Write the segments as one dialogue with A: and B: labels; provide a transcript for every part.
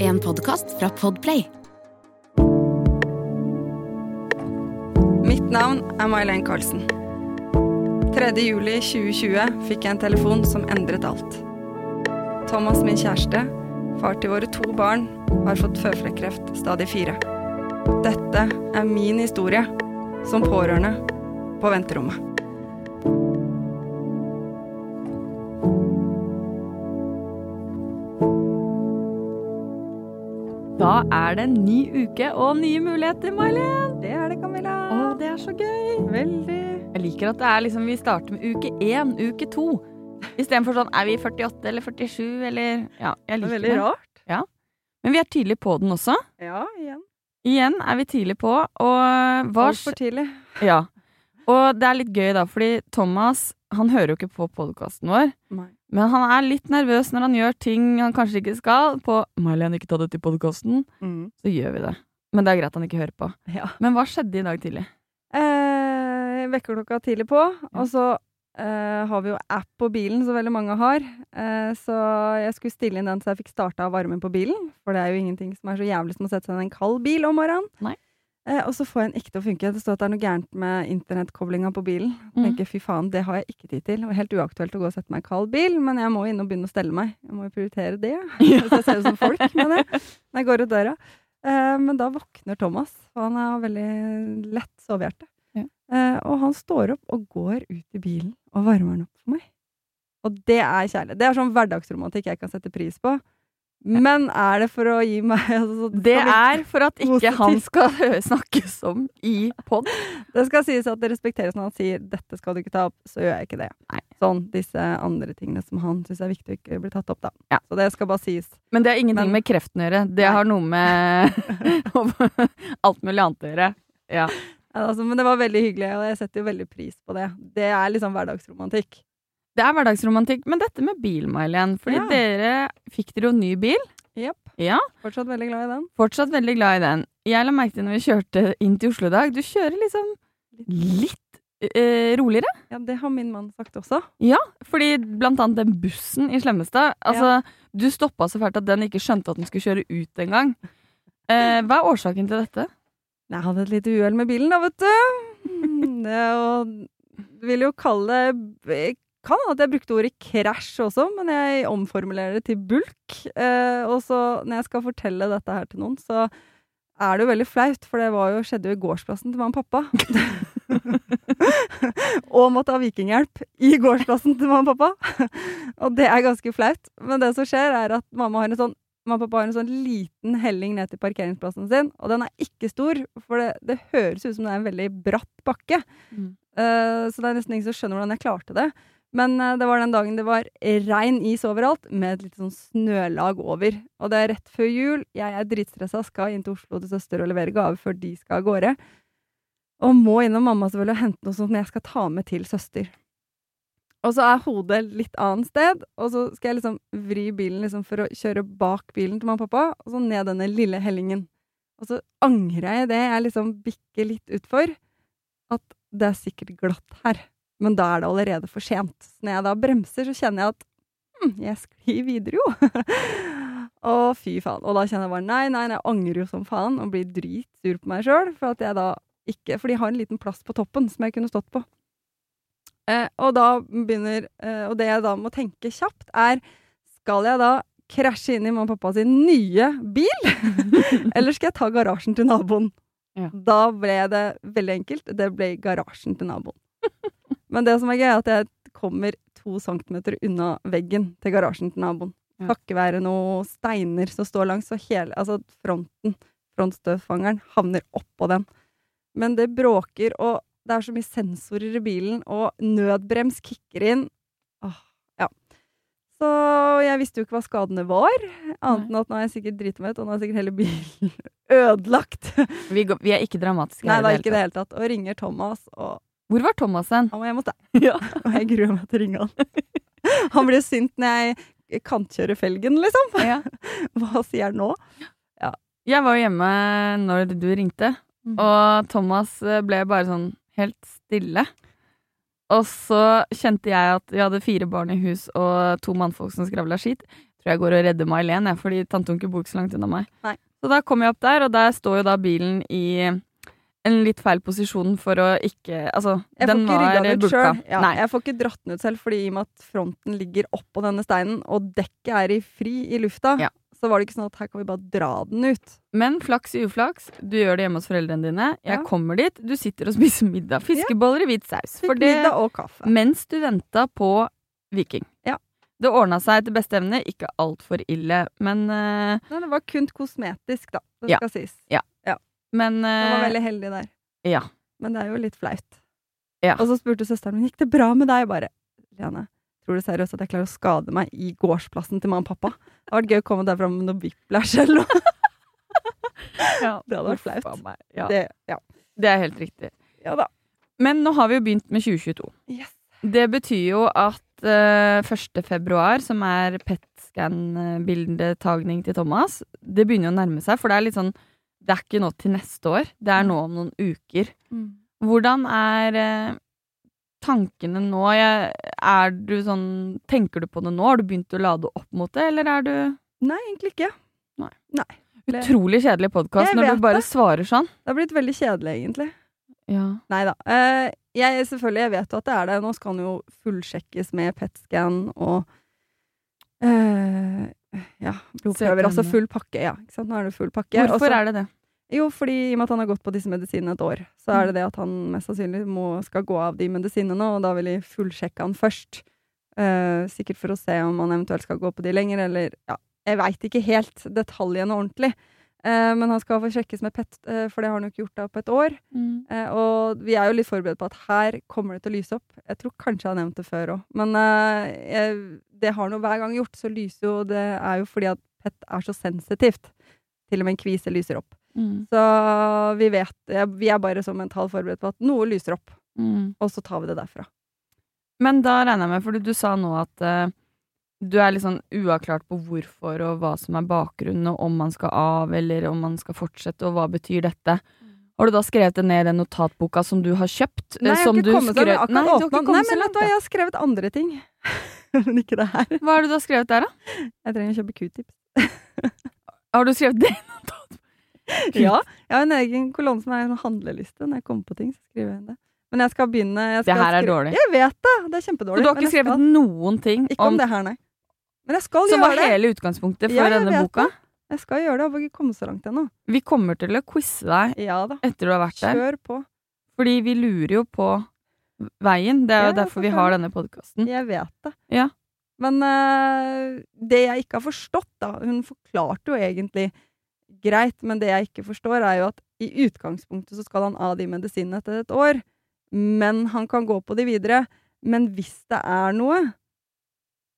A: en podkast fra Podplay.
B: Mitt navn er May-Len Carlsen. 3. juli 2020 fikk jeg en telefon som endret alt. Thomas, min kjæreste, far til våre to barn, har fått føflekkreft stadig fire. Dette er min historie som pårørende på venterommet.
C: Da er det en ny uke og nye muligheter, Mailen.
B: Det er det, Camilla.
C: Å, det er så gøy.
B: Veldig.
C: Jeg liker at det er liksom, vi starter med uke én, uke to. Istedenfor sånn er vi 48 eller 47 eller Ja, jeg liker det.
B: rart.
C: Men vi er tidlig på den også.
B: Ja, igjen.
C: Igjen er vi tidlig på, og hva
B: Altfor tidlig.
C: skj- Ja. Og det er litt gøy, da, fordi Thomas han hører jo ikke på podkasten vår.
B: Nei.
C: Men han er litt nervøs når han gjør ting han kanskje ikke skal. På Mailen, ikke ta det til podkasten.
B: Mm.
C: Så gjør vi det. Men det er greit han ikke hører på.
B: Ja.
C: Men hva skjedde i dag tidlig?
B: Eh, vekkerklokka tidlig på, og så eh, har vi jo app på bilen, som veldig mange har. Eh, så jeg skulle stille inn den så jeg fikk starta av varmen på bilen, for det er jo ingenting som er så jævlig som å sette seg i en kald bil om morgenen.
C: Nei.
B: Eh, og så får jeg den ikke til å funke. Det står at det er noe gærent med internettkoblinga på bilen. Jeg
C: Mm.
B: tenker fy faen, det har jeg ikke tid til. Og helt uaktuelt å gå og sette meg i kald bil, men jeg må inn og begynne å stelle meg. Jeg må jo prioritere det. Hvis jeg ser ut som folk, mener jeg. Når jeg går ut døra. Eh, men da våkner Thomas, og han har veldig lett sovehjerte.
C: Ja.
B: Eh, og han står opp og går ut i bilen og varmer den opp for meg. Og det er kjærlighet. Det er sånn hverdagsromantikk jeg kan sette pris på. Men er det for å gi meg altså, så-
C: Det
B: skal vi-
C: er for at ikke
B: Positivt.
C: han skal hø- snakkes om i pod.
B: Det skal sies at det respekteres når han sier 'dette skal du ikke ta opp', så gjør jeg ikke det.
C: Nei.
B: Sånn disse andre tingene som han syns er viktig å ikke bli tatt opp, da.
C: Ja.
B: Så det skal bare sies.
C: Men det har ingenting
B: Men-
C: med kreften å gjøre. Det
B: Nei.
C: har noe med alt mulig annet å gjøre. Ja.
B: Ja, Altså, men det var veldig hyggelig, og jeg setter jo veldig pris på det. Det er liksom hverdagsromantikk.
C: Det er hverdagsromantikk. Men dette med bil, Mailen. Fordi
B: Ja.
C: dere fikk dere jo ny bil.
B: Jepp.
C: Ja.
B: Fortsatt veldig glad i den.
C: Fortsatt veldig glad i den. Jeg la merke til når vi kjørte inn til Oslo i dag, du kjører liksom litt eh, roligere.
B: Ja, det har min mann sagt også.
C: Fordi blant annet den bussen i Slemmestad Altså, du stoppa så fælt at den ikke skjønte at den skulle kjøre ut engang. Eh, hva er årsaken til dette?
B: Jeg hadde et lite uhell med bilen, da, vet du. Mm, Det, og vil jo kalle det jeg Kan hende at jeg brukte ordet krasj også, men jeg omformulerer det til bulk. Eh, og så når jeg skal fortelle dette her til noen, så er det jo veldig flaut, for det var jo, skjedde jo i gårdsplassen til mamma og pappa. og måtte ha vikinghjelp i gårdsplassen til mamma og pappa. og det er ganske flaut. Men det som skjer, er at mamma har en sånn Mamma og pappa har en sånn liten helling ned til parkeringsplassen sin, og den er ikke stor, for det, det høres ut som det er en veldig bratt bakke.
C: Mm.
B: Eh, så det er nesten ingen som skjønner hvordan jeg klarte det. Men eh, det var den dagen det var rein is overalt, med et lite sånn snølag over. Og det er rett før jul. Jeg er dritstressa, skal inn til Oslo til søster og levere gave før de skal av gårde. Og må innom mamma selvfølgelig og hente noe sånt jeg skal ta med til søster. Og så er hodet litt annet sted, og så skal jeg liksom vri bilen liksom for å kjøre bak bilen til mamma og pappa, og så ned denne lille hellingen. Og så angrer jeg i det jeg liksom bikker litt utfor, at det er sikkert glatt her. Men da er det allerede for sent. Så når jeg da bremser, så kjenner jeg at hm, jeg sklir videre, jo. Å, fy faen. Og da kjenner jeg bare nei, nei, nei, jeg angrer jo som faen og blir dritsur på meg sjøl. For at jeg da ikke For de har en liten plass på toppen som jeg kunne stått på. Eh, og da begynner eh, Og det jeg da må tenke kjapt, er Skal jeg da krasje inn i mamma og pappa sin nye bil? Eller skal jeg ta garasjen til naboen?
C: Ja.
B: Da ble det veldig enkelt. Det ble garasjen til naboen. Men det som er gøy, er at jeg kommer to centimeter unna veggen til garasjen til naboen.
C: Ja.
B: Takket være noen steiner som står langs, og hele altså fronten, frontstøvfangeren, havner oppå den. Men det bråker, og det er så mye sensorer i bilen, og nødbrems kicker inn. Åh, ja. Så jeg visste jo ikke hva skadene var, annet enn at nå er jeg sikkert driti meg ut, og nå er sikkert hele bilen ødelagt.
C: Vi, går, vi er ikke dramatiske.
B: Nei,
C: her i
B: da
C: det hele
B: ikke i det hele tatt. Og ringer Thomas, og
C: tatt. Hvor var Thomas hen?
B: han må hjem hos deg.
C: Ja.
B: Og jeg gruer meg til å ringe han. Han blir sint når jeg kantkjører felgen, liksom.
C: Ja.
B: Hva sier han nå?
C: Jeg var jo hjemme når du ringte,
B: Mhm.
C: og Thomas eh, ble bare sånn helt stille. Og så kjente jeg at vi hadde fire barn i hus og to mannfolk som skravla skit. Jeg Tror tror jeg går og redder May-Len, jeg, fordi tante og onkel bor ikke så langt unna meg.
B: Nei.
C: Så da kom jeg opp der, og der står jo da bilen i en litt feil posisjon for å ikke Altså,
B: Jeg får
C: den
B: ikke
C: var
B: rygga den ut
C: bulka.
B: sjøl. Ja, jeg får ikke dratt den ut selv, fordi i og med at fronten ligger oppå denne steinen, og dekket er i fri i lufta,
C: Ja.
B: så var det ikke sånn at her kan vi bare dra den ut.
C: Men flaks i uflaks, du gjør det hjemme hos foreldrene dine. Jeg
B: Ja.
C: kommer dit, du sitter og spiser middag. Fiskeboller i hvit saus.
B: Fikk
C: For det,
B: middag og kaffe.
C: mens du venta på Viking.
B: Ja.
C: Det ordna seg etter beste evne, ikke altfor ille, men, eh,
B: Nei, det var kun kosmetisk, da. Det
C: Ja.
B: skal sies.
C: men
B: Jeg var
C: eh,
B: veldig heldig der.
C: Ja.
B: Men det er jo litt flaut.
C: Ja.
B: Og så spurte søsteren min gikk det bra med deg. Jeg bare Lene, tror du seriøst at jeg klarer å skade meg i gårdsplassen til mamma og pappa? Det hadde vært gøy å komme derfra med noe whiplash eller noe.
C: ja,
B: Det hadde vært
C: uff a
B: flaut.
C: meg. Ja,
B: Det, ja.
C: det er helt riktig.
B: ja da.
C: Men nå har vi jo begynt med 2022.
B: Yes.
C: Det betyr jo at eh, 1. februar, som er PET-scan-bildetagning til Thomas, det begynner jo å nærme seg, for det er litt sånn Det er ikke nå til neste år, det er nå om noen uker. Hvordan er eh, tankene nå? Jeg, er du sånn Tenker du på det nå? Har du begynt å lade opp mot det, eller er du
B: Nei, egentlig ikke.
C: Nei.
B: Nei. Det-
C: Utrolig kjedelig podkast
B: Jeg
C: når
B: vet
C: du bare svarer sånn.
B: Det har blitt veldig kjedelig, egentlig.
C: Ja.
B: Nei da. Eh, jeg, selvfølgelig, jeg vet jo at det er det. Nå skal den jo fullsjekkes med PET-scan og eh, ja, blodprøver. Altså
C: CTN.
B: full pakke, ja. Ikke sant? Nå er det full pakke. Og så-
C: Hvorfor er det det?
B: Jo, fordi i og med at han har gått på disse medisinene et år, så er det det at han mest sannsynlig må, skal gå av de medisinene, og da vil jeg fullsjekke han først. Eh, sikkert for å se om han eventuelt skal gå på de lenger, eller ja, jeg veit ikke helt detaljene ordentlig. Eh, men han skal få sjekkes med PET, eh, for det har han jo ikke gjort da på et år.
C: Mm,
B: Eh, og vi er jo litt forberedt på at her kommer det til å lyse opp. Jeg tror kanskje jeg har nevnt det før òg, men eh, jeg, det har han jo hver gang gjort. Så lyser jo Det er jo fordi at PET er så sensitivt. Til og med en kvise lyser opp.
C: mm,
B: Så vi vet jeg- Vi er bare så mentalt forberedt på at noe lyser opp,
C: mm.
B: og så tar vi det derfra.
C: Men da regner jeg med, for du sa nå at eh, du er litt sånn uavklart på hvorfor og hva som er bakgrunnen, og om man skal av eller om man skal fortsette, og hva betyr dette. Har du da skrevet det ned i den notatboka som du har kjøpt? eh,
B: Mm. Nei, jeg har
C: som
B: ikke
C: du
B: kommet der, men
C: skrev-
B: akkurat
C: Nei, du har
B: åpnet
C: ikke
B: den.
C: kommet
B: Nei,
C: så
B: men
C: langt,
B: da har jeg skrevet andre ting. men ikke det her.
C: da. Hva er det du har skrevet der, da?
B: Jeg trenger å kjøpe q-tips.
C: Har du skrevet det?
B: Ja, jeg har en egen kolonne som er en sånn handleliste. Når jeg kommer på ting, så skriver jeg det. Men jeg skal begynne jeg skal
C: Det her er
B: skrive-
C: dårlig.
B: Jeg vet det! Det er
C: Så
B: kjempedårlig.
C: du har
B: men
C: ikke
B: jeg
C: skrevet
B: skal,
C: noen ting
B: Ikke om det her, nei. Men jeg skal
C: Som
B: gjøre
C: var
B: det.
C: hele utgangspunktet for
B: Ja, jeg
C: denne
B: vet
C: boka?
B: Jeg skal gjøre det. Jeg har ikke kommet så langt ennå.
C: Vi kommer til å quize deg
B: Ja da.
C: etter du har vært der.
B: Kjør på.
C: Fordi vi lurer jo på veien. Det er jo
B: Ja, ja,
C: derfor vi har denne podkasten.
B: Jeg vet det.
C: Ja.
B: Men eh, det jeg ikke har forstått, da Hun forklarte jo egentlig greit, men det jeg ikke forstår, er jo at i utgangspunktet så skal han av de medisinene etter et år. Men han kan gå på de videre. Men hvis det er noe,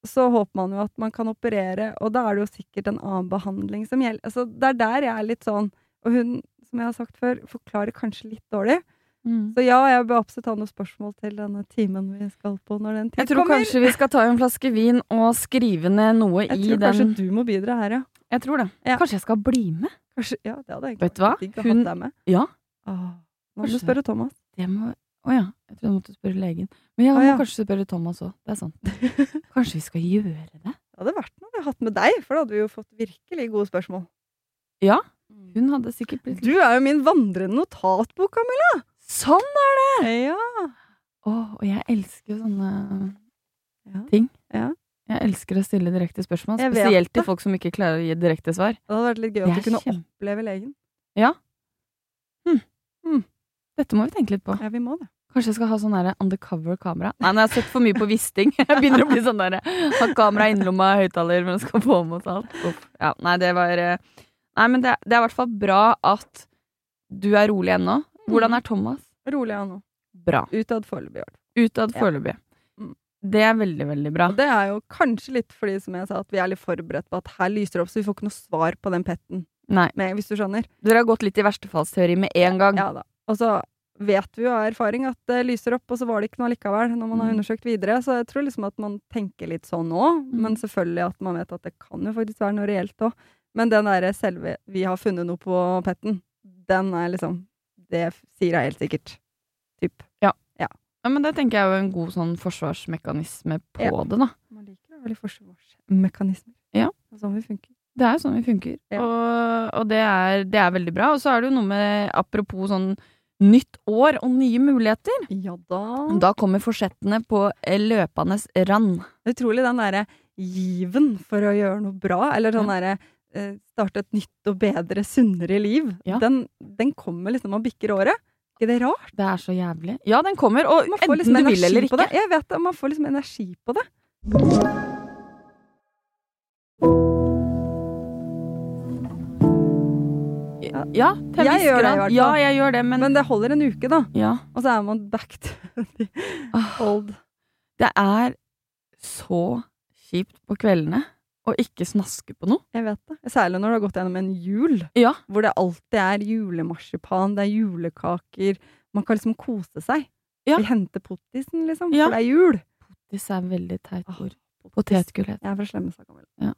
B: så håper man jo at man kan operere, og da er det jo sikkert en annen behandling som gjelder. Altså, det er der jeg er litt sånn Og hun, som jeg har sagt før, forklarer kanskje litt dårlig.
C: Mm.
B: Så ja, jeg bør absolutt ha noen spørsmål til denne timen vi skal på når den tid
C: Jeg tror
B: kommer.
C: kanskje vi skal ta en flaske vin og skrive ned noe
B: Jeg
C: i
B: tror kanskje
C: den.
B: du må bidra her, ja.
C: Jeg tror det.
B: Ja.
C: Kanskje jeg skal bli med?
B: Kanskje, ja det hadde egentlig
C: Vet du hva?
B: vært digg å ha
C: Hun-
B: deg med.
C: Ja.
B: Åh, nå må du
C: Kanskje.
B: spørre Thomas.
C: Det må Å ja. Jeg tror jeg måtte spørre legen. Men jeg
B: Å
C: må
B: ja.
C: kanskje spørre Thomas òg. Det er sant. Kanskje vi skal gjøre det?
B: Det hadde vært noe vi hadde hatt med deg, for da hadde vi jo fått virkelig gode spørsmål.
C: Ja. Hun hadde sikkert blitt
B: Du er jo min vandrende notatbok, Camilla.
C: Sånn!
B: Ja.
C: Å, og jeg elsker jo sånne
B: Ja.
C: ting.
B: Ja.
C: Jeg elsker å stille direkte spørsmål,
B: Jeg vet
C: spesielt til
B: det.
C: folk som ikke klarer å gi direkte svar.
B: Det hadde vært litt gøy
C: Det
B: at
C: er
B: du kunne
C: kjempe...
B: oppleve legen.
C: Dette må vi tenke litt på.
B: Ja, vi må det.
C: Kanskje jeg skal ha sånn der undercover-kamera. Nei, men jeg har sett for mye på Wisting. Jeg begynner å bli sånn der Ha kamera i innlomma, høyttaler, men skal få mot alt. Uff. Ja, nei, det var eh, Nei, men det, det er i hvert fall bra at du er rolig ennå.
B: Mm.
C: Hvordan er Thomas?
B: Rolig av nå.
C: Bra.
B: Utad foreløpig, i hvert fall.
C: Utad
B: Ja.
C: foreløpig.
B: Mm.
C: Det er veldig, veldig bra.
B: Og det er jo kanskje litt fordi, som jeg sa, at vi er litt forberedt på at her lyser det opp, så vi får ikke noe svar på den petten,
C: Nei.
B: med, hvis du skjønner.
C: Dere har gått litt i verstefallsteori med en gang.
B: Ja da. Og så vet vi jo av erfaring at det lyser opp, og så var det ikke noe likevel når man har
C: Mm.
B: undersøkt videre. Så jeg tror liksom at man tenker litt sånn nå, men
C: Mm.
B: selvfølgelig at man vet at det kan jo faktisk være noe reelt òg. Men den derre selve 'vi har funnet noe på petten', den er liksom Det f- sier jeg helt sikkert. Typ.
C: Ja, men det tenker jeg er jo en god sånn forsvarsmekanisme på
B: Ja.
C: det, da.
B: Man liker det. vel i forsvarsmekanismer.
C: Ja.
B: Det er Sånn vi funker.
C: Det er jo sånn vi funker,
B: Ja.
C: og, og det, er, det er veldig bra. Og så er det jo noe med, apropos sånn nytt år og nye muligheter,
B: Ja da.
C: da kommer forsettene på eh, løpende rand.
B: Utrolig den derre given for å gjøre noe bra, eller sånn derre eh, starte et nytt og bedre, sunnere liv.
C: Ja.
B: Den, den kommer liksom og bikker året. Er ikke det rart?
C: Det er så jævlig. Ja, den kommer, og
B: Man får
C: enten
B: liksom
C: du vil eller
B: energi på det.
C: ikke.
B: Jeg vet det, man får liksom energi på det.
C: Ja, til en
B: Jeg
C: viss
B: gjør det i
C: grad.
B: hvert fall.
C: Ja, jeg gjør det, men,
B: Men det holder en uke, da.
C: ja.
B: Og så er man back to the
C: Åh,
B: old.
C: Det er så kjipt på kveldene å ikke snaske på noe.
B: Jeg vet det. Særlig når du har gått gjennom en jul,
C: Ja.
B: hvor det alltid er julemarsipan, det er julekaker. Man kan liksom kose seg.
C: Ja.
B: Vi henter pottisen, liksom,
C: Ja.
B: for det er jul.
C: Disse er veldig teite
B: Åh,
C: ord. Potetgullhet.
B: Jeg er fra Slemmestad, gammel.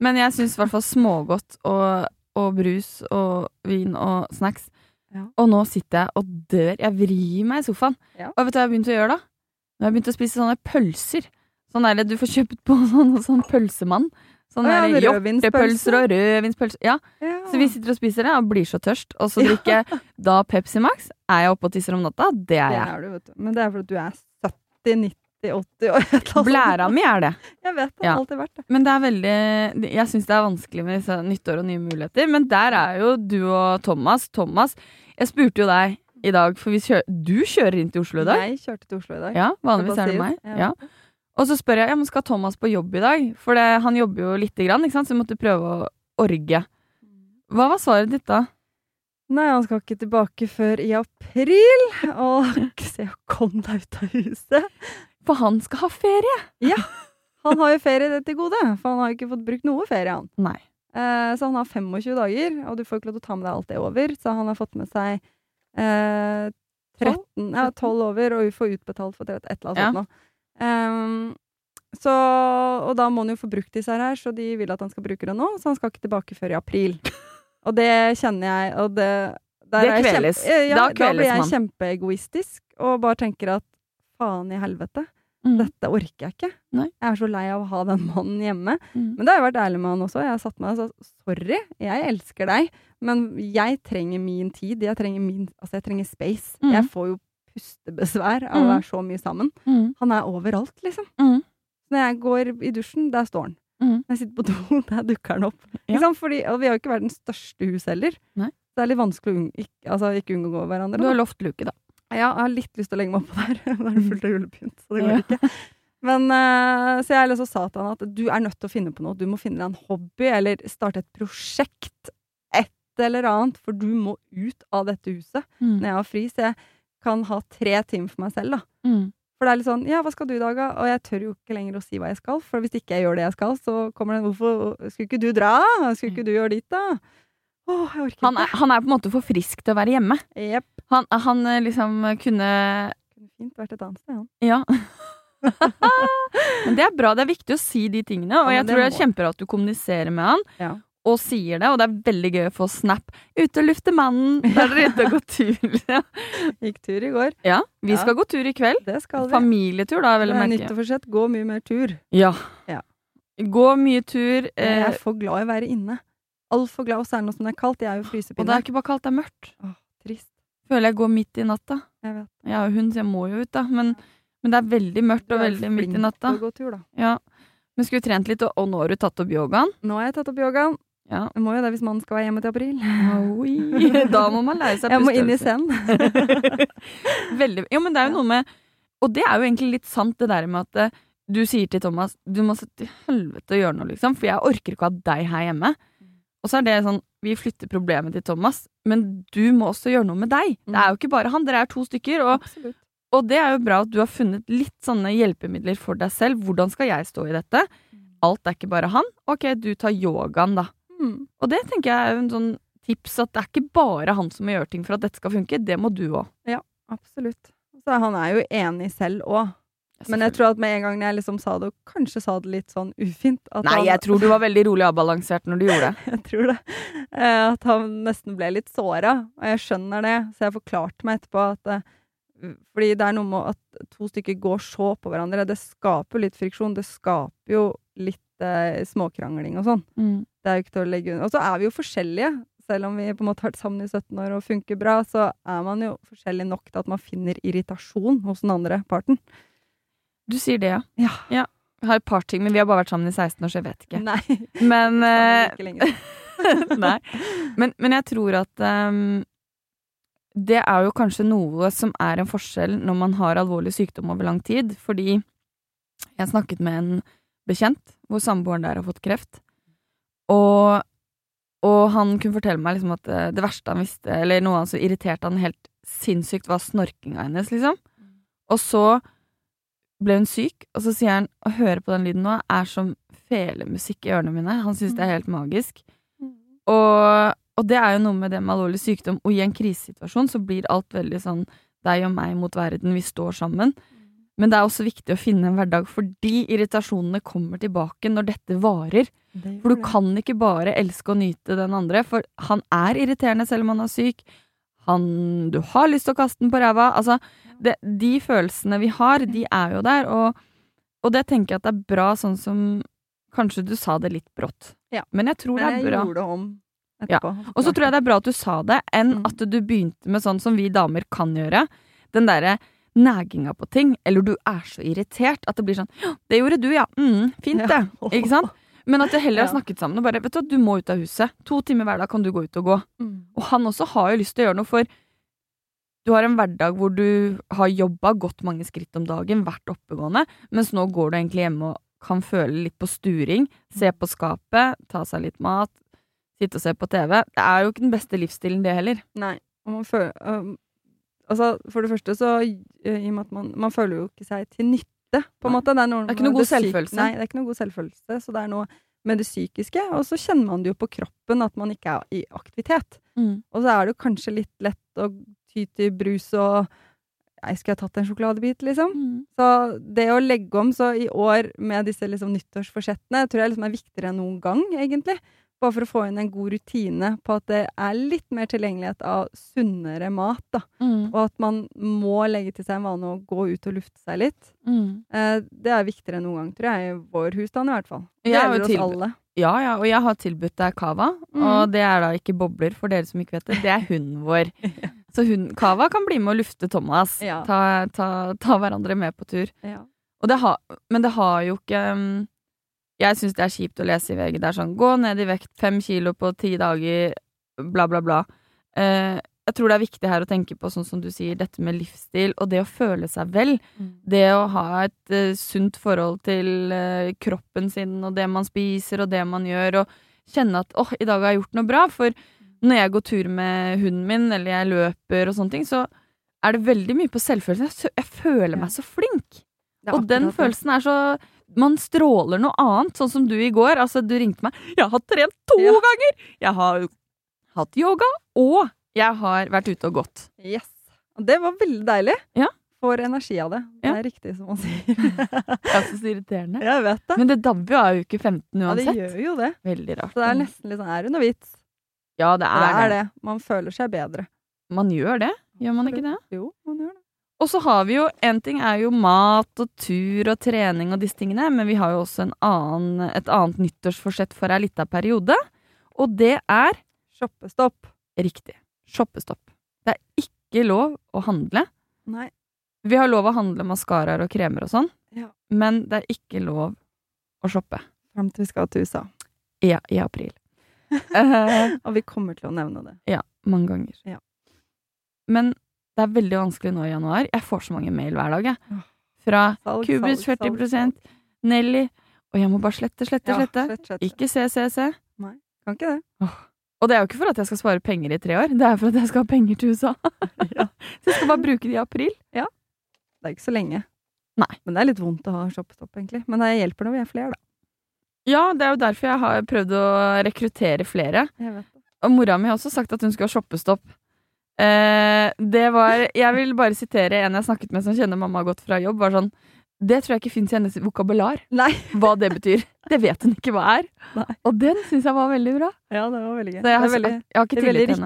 C: Men jeg syns i hvert fall smågodt og, og brus og vin og snacks.
B: Ja.
C: Og nå sitter jeg og dør. Jeg vrir meg i sofaen.
B: Ja.
C: Og vet du hva jeg har begynt å gjøre da? Nå har jeg begynt å spise sånne pølser. Sånn der, Du får kjøpt på sånn, sånn pølsemann. Sånne
B: Å ja,
C: der
B: rødvinspølse.
C: joppepølser og rødvinspølser. Ja,
B: Ja.
C: så vi sitter og spiser det og blir så tørst. Og så drikker jeg da Pepsi Max. Er jeg oppe og tisser om natta? Det er
B: Det
C: jeg.
B: er du, vet du. Men det er fordi du er 70, 90, 80 og et eller annet.
C: Blæra mi er det.
B: Jeg vet det.
C: Ja.
B: har Alltid vært det.
C: Men det er veldig Jeg syns det er vanskelig med disse nyttår og nye muligheter. Men der er jo du og Thomas. Thomas, jeg spurte jo deg i dag, for vi kjø du kjører inn til Oslo i dag.
B: Jeg kjørte til Oslo i dag.
C: Ja, vanligvis
B: Det
C: er det
B: bare
C: meg.
B: sies,
C: Ja.
B: ja.
C: Og så spør jeg ja, men skal Thomas på jobb i dag, for det, han jobber jo lite grann, ikke sant? så vi måtte prøve å orge. Hva var svaret ditt da?
B: Nei, han skal ikke tilbake før i april. Og se, kom deg ut av huset.
C: For han skal ha ferie!
B: Han har jo ferie det til gode, for han har jo ikke fått brukt noe ferie, han.
C: Nei.
B: Eh, så han har 25 dager, og du får ikke lov til å ta med deg alt det over. Så han har fått med seg eh, 13, ja, 12 over, og vi får utbetalt for 13, et eller annet
C: Ja.
B: sånt nå. Ehm, så, og da må han jo få brukt disse her, så de vil at han skal bruke det nå, så han skal ikke tilbake før i april. Og det kjenner jeg, og det der
C: Det
B: er jeg kjem-
C: kveles.
B: eh, Ja,
C: Da
B: da,
C: kveles
B: blir jeg
C: man.
B: kjempeegoistisk og bare tenker at faen i helvete,
C: Mm.
B: dette orker jeg ikke.
C: Nei.
B: Jeg er så lei av å ha den mannen hjemme.
C: Mm.
B: Men det har jeg vært ærlig med han også. Jeg har satt meg og sagt sorry, jeg elsker deg, men jeg trenger min tid. Jeg trenger, min, altså jeg trenger space.
C: Mhm.
B: Jeg får jo pustebesvær av å
C: Mhm.
B: være så mye sammen.
C: Mm.
B: Han er overalt, liksom.
C: Mhm.
B: Når jeg går i dusjen, der står han.
C: Mhm.
B: Når jeg sitter på do, der dukker han opp.
C: Ja.
B: Ikke sant? Fordi, og vi har jo ikke verdens største hus heller.
C: Nei.
B: Det er litt vanskelig å unng ikke, altså, ikke unngå hverandre.
C: Du
B: da.
C: har lovt luke, da.
B: Ja, jeg har litt lyst til å legge meg oppå der. Da er det fullt av julepynt, så det går
C: Ja.
B: ikke. Men, eh, så jeg liksom sa til han at du er nødt til å finne på noe. Du må finne deg en hobby eller starte et prosjekt. Et eller annet, for du må ut av dette huset
C: Mm.
B: når jeg har fri, så jeg kan ha tre timer for meg selv, da.
C: Mm.
B: For det er litt sånn ja, hva skal du i dag, da? Og jeg tør jo ikke lenger å si hva jeg skal, for hvis ikke jeg gjør det jeg skal, så kommer den hvorfor skulle ikke du dra? Skulle ikke du gjøre dit, da? Åh, jeg orker
C: Han, er, han er på en måte for frisk til å være hjemme.
B: ikke. Jepp.
C: Han, han eh, liksom kunne
B: Kunne fint vært et annet sted, han.
C: Ja. Men det er bra. Det er viktig å si de tingene. Og
B: Ja,
C: jeg
B: men det
C: tror det er
B: må-
C: kjempebra at du kommuniserer med han.
B: Ja.
C: Og sier det, og det er veldig gøy å få snap. Ute og lufte mannen! Der er dere ute og går tur. liksom.
B: Gikk tur i går.
C: ja, vi
B: Ja.
C: skal gå tur i kveld.
B: Det skal vi.
C: Familietur, da, vel å
B: Det er
C: merke.
B: nyttårsforsett. Gå mye mer tur.
C: Ja.
B: Ja.
C: Gå mye tur.
B: Jeg
C: Eh,
B: er for glad i å være inne. Altfor glad, og særlig nå som det er kaldt. Jeg er jo
C: og det
B: frysepinne.
C: er ikke bare kaldt, det er mørkt.
B: Åh, trist.
C: Føler jeg går midt i natta.
B: Jeg vet.
C: Jeg har jo hund, så jeg må jo ut, da. Men, men det er veldig mørkt
B: Du
C: og
B: er
C: veldig midt
B: flink
C: i natta.
B: til å gå tur, da.
C: Ja. Men skulle trent litt, og, og nå har du tatt opp yogaen.
B: Nå har jeg tatt opp yogaen.
C: Ja.
B: Jeg må jo det hvis mannen skal være hjemme til april.
C: Oi. Da må man lære seg
B: Jeg må inn i
C: pusteøvelser.
B: zen.
C: Veldig, jo, men det er jo
B: Ja.
C: noe med Og det er jo egentlig litt sant, det der med at eh, du sier til Thomas Du må så til helvete gjøre noe, liksom, for jeg orker ikke å ha deg her hjemme. Og så er det sånn Vi flytter problemet til Thomas, men du må også gjøre noe med deg. Det er jo ikke bare han, dere er to stykker. Og,
B: Absolutt.
C: og det er jo bra at du har funnet litt sånne hjelpemidler for deg selv. Hvordan skal jeg stå i dette? Alt er ikke bare han. Ok, du tar yogaen, da.
B: Mm.
C: Og det tenker jeg er jo en sånn tips at det er ikke bare han som må gjøre ting for at dette skal funke. Det må du òg.
B: Absolutt. Så han er jo enig selv òg. Men jeg tror at med en gang jeg liksom sa det, og kanskje sa det litt sånn ufint at
C: Nei,
B: han,
C: jeg tror du var veldig rolig og avbalansert når du gjorde det.
B: jeg tror det. Eh, At han nesten ble litt såra, og jeg skjønner det. Så jeg forklarte meg etterpå at eh, Fordi det er noe med at to stykker går så på hverandre. Det skaper jo litt friksjon. Det skaper jo litt eh, småkrangling og sånn.
C: Mm.
B: Det er jo ikke til å legge unna. Og så er vi jo forskjellige. Selv om vi på en måte har vært sammen i 17 år og funker bra, så er man jo forskjellig nok til at man finner irritasjon hos den andre parten.
C: Du sier det, ja.
B: Ja.
C: Jeg har et par ting, men vi har bare vært sammen i 16 år, så jeg vet ikke.
B: Nei.
C: Men, eh,
B: Ikke lenger.
C: nei. Men, men jeg tror at ehm, det er jo kanskje noe som er en forskjell når man har alvorlig sykdom over lang tid, fordi jeg snakket med en bekjent hvor samboeren der har fått kreft, og, og han kunne fortelle meg liksom at eh, det verste han visste, eller noe han som irriterte han helt sinnssykt, var snorkinga hennes, liksom. Og så ble hun syk, og så sier han å høre på den lyden nå er som felemusikk i ørene mine. Han syns det er helt magisk. Og, og det er jo noe med det med alvorlig sykdom. Og i en krisesituasjon så blir alt veldig sånn deg og meg mot verden, vi står sammen. Men det er også viktig å finne en hverdag fordi irritasjonene kommer tilbake når dette varer. For du kan ikke bare elske og nyte den andre, for han er irriterende selv om han er syk. Han, du har lyst til å kaste den på ræva. Altså, det, de følelsene vi har, de er jo der. Og, og det tenker jeg at det er bra, sånn som Kanskje du sa det litt brått,
B: Ja.
C: men jeg tror det
B: Men
C: er
B: jeg
C: bra.
B: gjorde det om
C: Ja.
B: etterpå.
C: Og så tror jeg det er bra at du sa det, enn
B: Mm.
C: at du begynte med sånn som vi damer kan gjøre. Den derre næginga på ting. Eller du er så irritert at det blir sånn «Hå, Det gjorde du, ja. Mm, fint, det. Ikke sant? Men at jeg heller har
B: Ja.
C: snakket sammen og bare Vet du hva, du må ut av huset. To timer hver dag kan du gå ut og gå.
B: Mm.
C: Og han også har jo lyst til å gjøre noe, for du har en hverdag hvor du har jobba, gått mange skritt om dagen, vært oppegående, mens nå går du egentlig hjemme og kan føle litt på sturing, se på skapet, ta seg litt mat, sitte og se på TV. Det er jo ikke den beste livsstilen, det heller.
B: Nei. Og man føler um, Altså, for det første så eh, I og med at man, man føler jo ikke seg til nytte, på en
C: Nei.
B: måte. Det er, noe
C: Det er ikke noe god
B: psyk-
C: selvfølelse.
B: Nei, det er ikke noe god selvfølelse. Så det er noe med det psykiske. Og så kjenner man det jo på kroppen at man ikke er i aktivitet. Og så er det jo kanskje litt lett å ty til brus og Nei, skulle jeg tatt en sjokoladebit, liksom? Så det å legge om så i år med disse liksom nyttårsforsettene tror jeg liksom er viktigere enn noen gang, egentlig. Bare for å få inn en god rutine på at det er litt mer tilgjengelighet av sunnere mat. da. Og at man må legge til seg en vane å gå ut og lufte seg litt. Eh, det er viktigere enn noen gang, tror jeg, i vår husstand i hvert fall. Det
C: Jeg er jo
B: gjelder
C: til-
B: oss alle.
C: Ja, ja, og jeg har tilbudt deg cava,
B: Mm.
C: og det er da ikke bobler, for dere som ikke vet det. Det er hunden vår. Så hun, cava kan bli med å lufte Thomas.
B: Ja.
C: Ta, ta, ta hverandre med på tur.
B: Ja.
C: Og det har, men det har jo ikke um, Jeg syns det er kjipt å lese i VG. Det er sånn 'gå ned i vekt fem kilo på ti dager', bla, bla, bla. Eh, jeg tror det er viktig her å tenke på sånn som du sier, dette med livsstil og det å føle seg vel.
B: Mm.
C: Det å ha et eh, sunt forhold til eh, kroppen sin og det man spiser og det man gjør, og kjenne at 'åh, i dag har jeg gjort noe bra'. For når jeg går tur med hunden min, eller jeg løper og sånne ting, så er det veldig mye på selvfølelsen. Jeg, sø- jeg føler meg så flink.
B: Det er
C: Og den
B: akkurat det.
C: følelsen er så Man stråler noe annet, sånn som du i går. Altså, du ringte meg. Jeg har trent to
B: Ja.
C: ganger! Jeg har hatt yoga, og jeg har vært ute og gått.
B: Yes. Og det var veldig deilig.
C: Ja.
B: Får energi av det. Det
C: Ja.
B: er riktig som man sier.
C: Det er så irriterende.
B: jeg vet det.
C: Men det dabber jo av uke 15
B: Ja, det
C: uansett.
B: gjør jo det.
C: Veldig rart.
B: Så det er nesten litt sånn er det noe vits?
C: Ja, det
B: Og
C: er,
B: det er
C: det.
B: det. Man føler seg bedre.
C: Man gjør det. Gjør man ikke det?
B: Jo, man gjør det.
C: Og så har vi jo En ting er jo mat og tur og trening og disse tingene, men vi har jo også en annen, et annet nyttårsforsett for ei lita periode. Og det er
B: Shoppestopp.
C: Riktig. Shoppestopp. Det er ikke lov å handle.
B: Nei.
C: Vi har lov å handle maskaraer og kremer og sånn,
B: Ja.
C: men det er ikke lov å shoppe
B: Fram til vi skal til USA.
C: i, i april. Eh,
B: Og vi kommer til å nevne det.
C: mange ganger.
B: Ja.
C: Men det er veldig vanskelig nå i januar. Jeg får så mange mail hver dag, jeg.
B: Åh.
C: Fra
B: Salg,
C: Cubus
B: salg, salg,
C: 40 Nelly Og jeg må bare slette, slette,
B: Ja,
C: slette.
B: slett, slett.
C: Ikke se, se, se.
B: Kan ikke det.
C: Og det er jo ikke for at jeg skal spare penger i tre år, det er for at jeg skal ha penger til USA. Så jeg skal bare bruke det i april.
B: Det er ikke så lenge.
C: Nei.
B: Men det er litt vondt å ha shoppestopp, egentlig. Men det hjelper når vi er flere, da.
C: Ja, det er jo derfor jeg har prøvd å rekruttere flere.
B: Jeg vet det.
C: Og mora mi har også sagt at hun skulle ha shoppestopp. Eh, det var Jeg vil bare sitere en jeg snakket med som kjenner mamma godt fra jobb. Var sånn Det tror jeg ikke fins i hennes vokabular.
B: Nei.
C: Hva det betyr. Det vet hun ikke hva er.
B: Nei.
C: Og den syns jeg var veldig bra.
B: Ja, det var veldig gøy.
C: Så jeg har,
B: det er veldig,
C: jeg har ikke
B: det er veldig
C: tillit til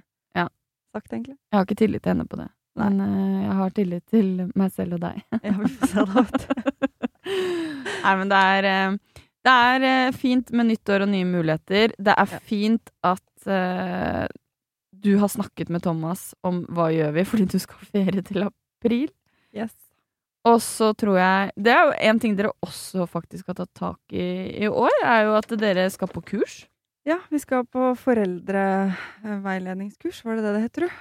B: riktig
C: Ja.
B: sagt, egentlig.
C: Jeg har ikke tillit til henne på det. Men eh, jeg har tillit til meg selv og deg.
B: Ja, vi får se da, vet du.
C: Nei, men det er eh, Det er eh, fint med nytt år og nye muligheter. Det er fint at eh, du har snakket med Thomas om hva gjør vi, fordi du skal ha ferie til april.
B: Yes.
C: Og så tror jeg Det er jo en ting dere også faktisk har tatt tak i i år, er jo at dere skal på kurs.
B: Ja, vi skal på foreldreveiledningskurs, var det det det het, tror du?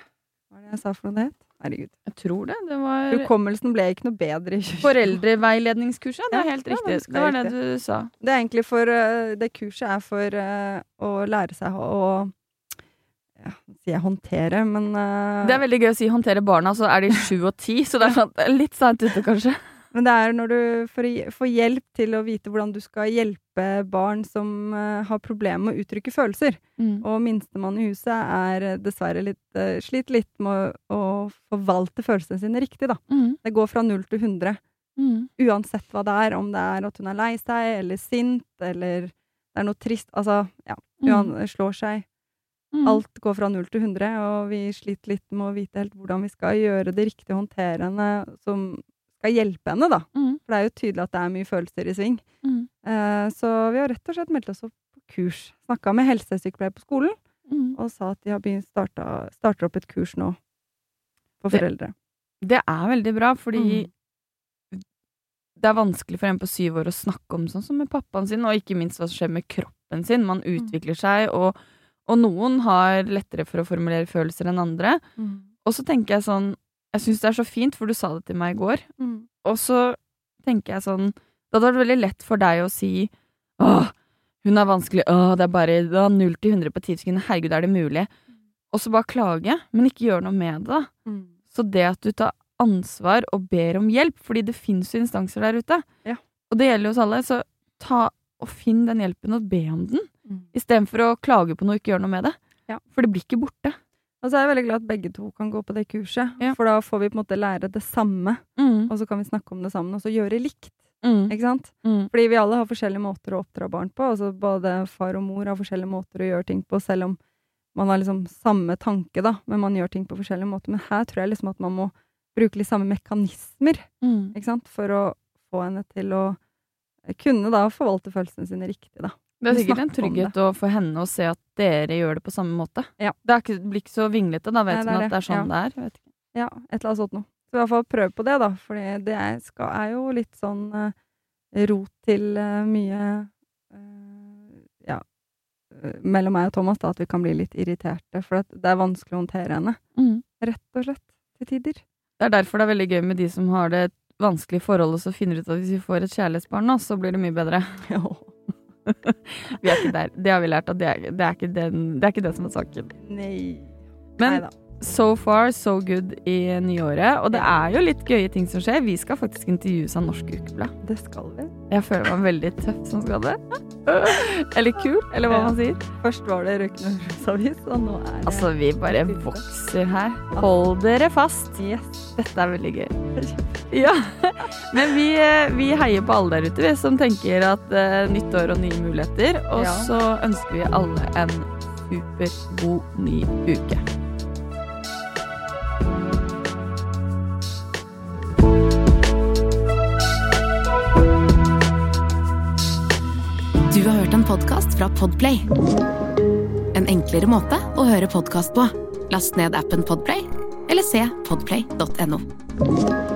B: Hva var det jeg sa for noe det het? Herregud.
C: Jeg tror det. Det var
B: Hukommelsen ble ikke noe bedre i 2020.
C: Foreldreveiledningskurset. Det
B: Ja,
C: er helt
B: ja,
C: riktig.
B: det
C: Det var
B: er
C: det du sa.
B: Det er egentlig for eh, Det kurset er for eh, å lære seg å, å ja, sier jeg håndtere, men eh,
C: Det er veldig gøy å si 'håndtere barna', så er de sju og ti, så det er sånn litt seint ute, kanskje.
B: Men det er når du får, får hjelp til å vite hvordan du skal hjelpe barn som eh, har problemer med å uttrykke følelser.
C: Mm,
B: Og minstemann i huset er eh, dessverre litt, eh, sliter litt med å, å forvalte følelsene sine riktig, da.
C: Mm.
B: Det går fra null til 100.
C: Mm.
B: Uansett hva det er, om det er at hun er lei seg, eller sint, eller det er noe trist. Altså, ja. Hun slår seg.
C: Mm.
B: Alt går fra null til 100, og vi sliter litt med å vite helt hvordan vi skal gjøre det riktig håndterende som skal hjelpe henne, da.
C: Mm.
B: For det er jo tydelig at det er mye følelser i sving.
C: Mm.
B: Eh, så vi har rett og slett meldt oss opp på kurs. Snakka med helsesykepleier på skolen
C: Mm.
B: og sa at de har begynt starta, starter opp et kurs nå for
C: Det-
B: foreldre.
C: Det er veldig bra, fordi Mm. det er vanskelig for en på syv år å snakke om sånn som med pappaen sin, og ikke minst hva som skjer med kroppen sin. Man utvikler seg, og, og noen har lettere for å formulere følelser enn andre. Og så tenker jeg sånn Jeg syns det er så fint, for du sa det til meg i går.
B: Mm.
C: Og så tenker jeg sånn Det hadde vært veldig lett for deg å si Åh, hun er vanskelig. Åh, det er bare det er 0 til 100 på 10 sekunder. Herregud, er det mulig? Og så bare klage, men ikke gjøre noe med det. da.
B: Mm.
C: Så det at du tar ansvar og ber om hjelp, fordi det fins jo instanser der ute,
B: Ja.
C: og det gjelder jo oss alle, så ta og finn den hjelpen og be om den, istedenfor å klage på noe og ikke gjøre noe med det.
B: Ja.
C: For det blir ikke borte.
B: Og så er jeg veldig glad at begge to kan gå på det kurset,
C: Ja.
B: for da får vi på en måte lære det samme, og så kan vi snakke om det sammen, og så gjøre likt.
C: Mm.
B: Ikke sant?
C: Mm.
B: Fordi vi alle har forskjellige måter å oppdra barn på. Altså både far og mor har forskjellige måter å gjøre ting på, selv om man har liksom samme tanke, da, men man gjør ting på forskjellige måter. Men her tror jeg liksom at man må bruke litt samme mekanismer
C: Mm.
B: ikke sant? for å få henne til å kunne da forvalte følelsene sine riktig. da.
C: Det er
B: Men
C: sikkert en
B: snakk om
C: trygghet å- for henne å se at dere gjør det på samme måte.
B: Ja.
C: Det, er ikke, det blir ikke så vinglete, da vet
B: Nei, det er
C: hun at det er sånn det er. Vet ikke.
B: Ja, et eller annet sånt noe. Så i hvert fall prøv på det, da, for det er, skal, er jo litt sånn eh, rot til eh, mye eh, Ja, eh, mellom meg og Thomas, da, at vi kan bli litt irriterte, for at det er vanskelig å håndtere henne.
C: Mm.
B: Rett og slett. Til tider.
C: Det er derfor det er veldig gøy med de som har det vanskelige forholdet, og så finner ut at hvis vi får et kjærlighetsbarn nå, så blir det mye bedre. Vi er ikke der. Det har vi lært, at det er, det er, ikke, den, det er ikke det som er saken.
B: Nei.
C: Men
B: Neida.
C: so far, so good i nyåret. Og det er jo litt gøye ting som skjer. Vi skal faktisk intervjues av Norsk Ukeblad.
B: Det skal vi.
C: Jeg føler meg veldig tøff som skal det. Eller kul, eller hva
B: Ja.
C: man sier.
B: Først var det Røykende Røros-avis, og nå er det
C: Altså, vi bare vokser her. Hold dere fast.
B: Yes.
C: Dette er veldig gøy. Ja. Men vi, eh, vi heier på alle der ute, vi, som tenker at eh, nytt år og nye muligheter. Og
B: Ja.
C: så ønsker vi alle en supergod ny uke.
A: Du har hørt en podcast fra Podplay En enklere måte å høre podcast på Last ned appen Podplay Eller se podplay.no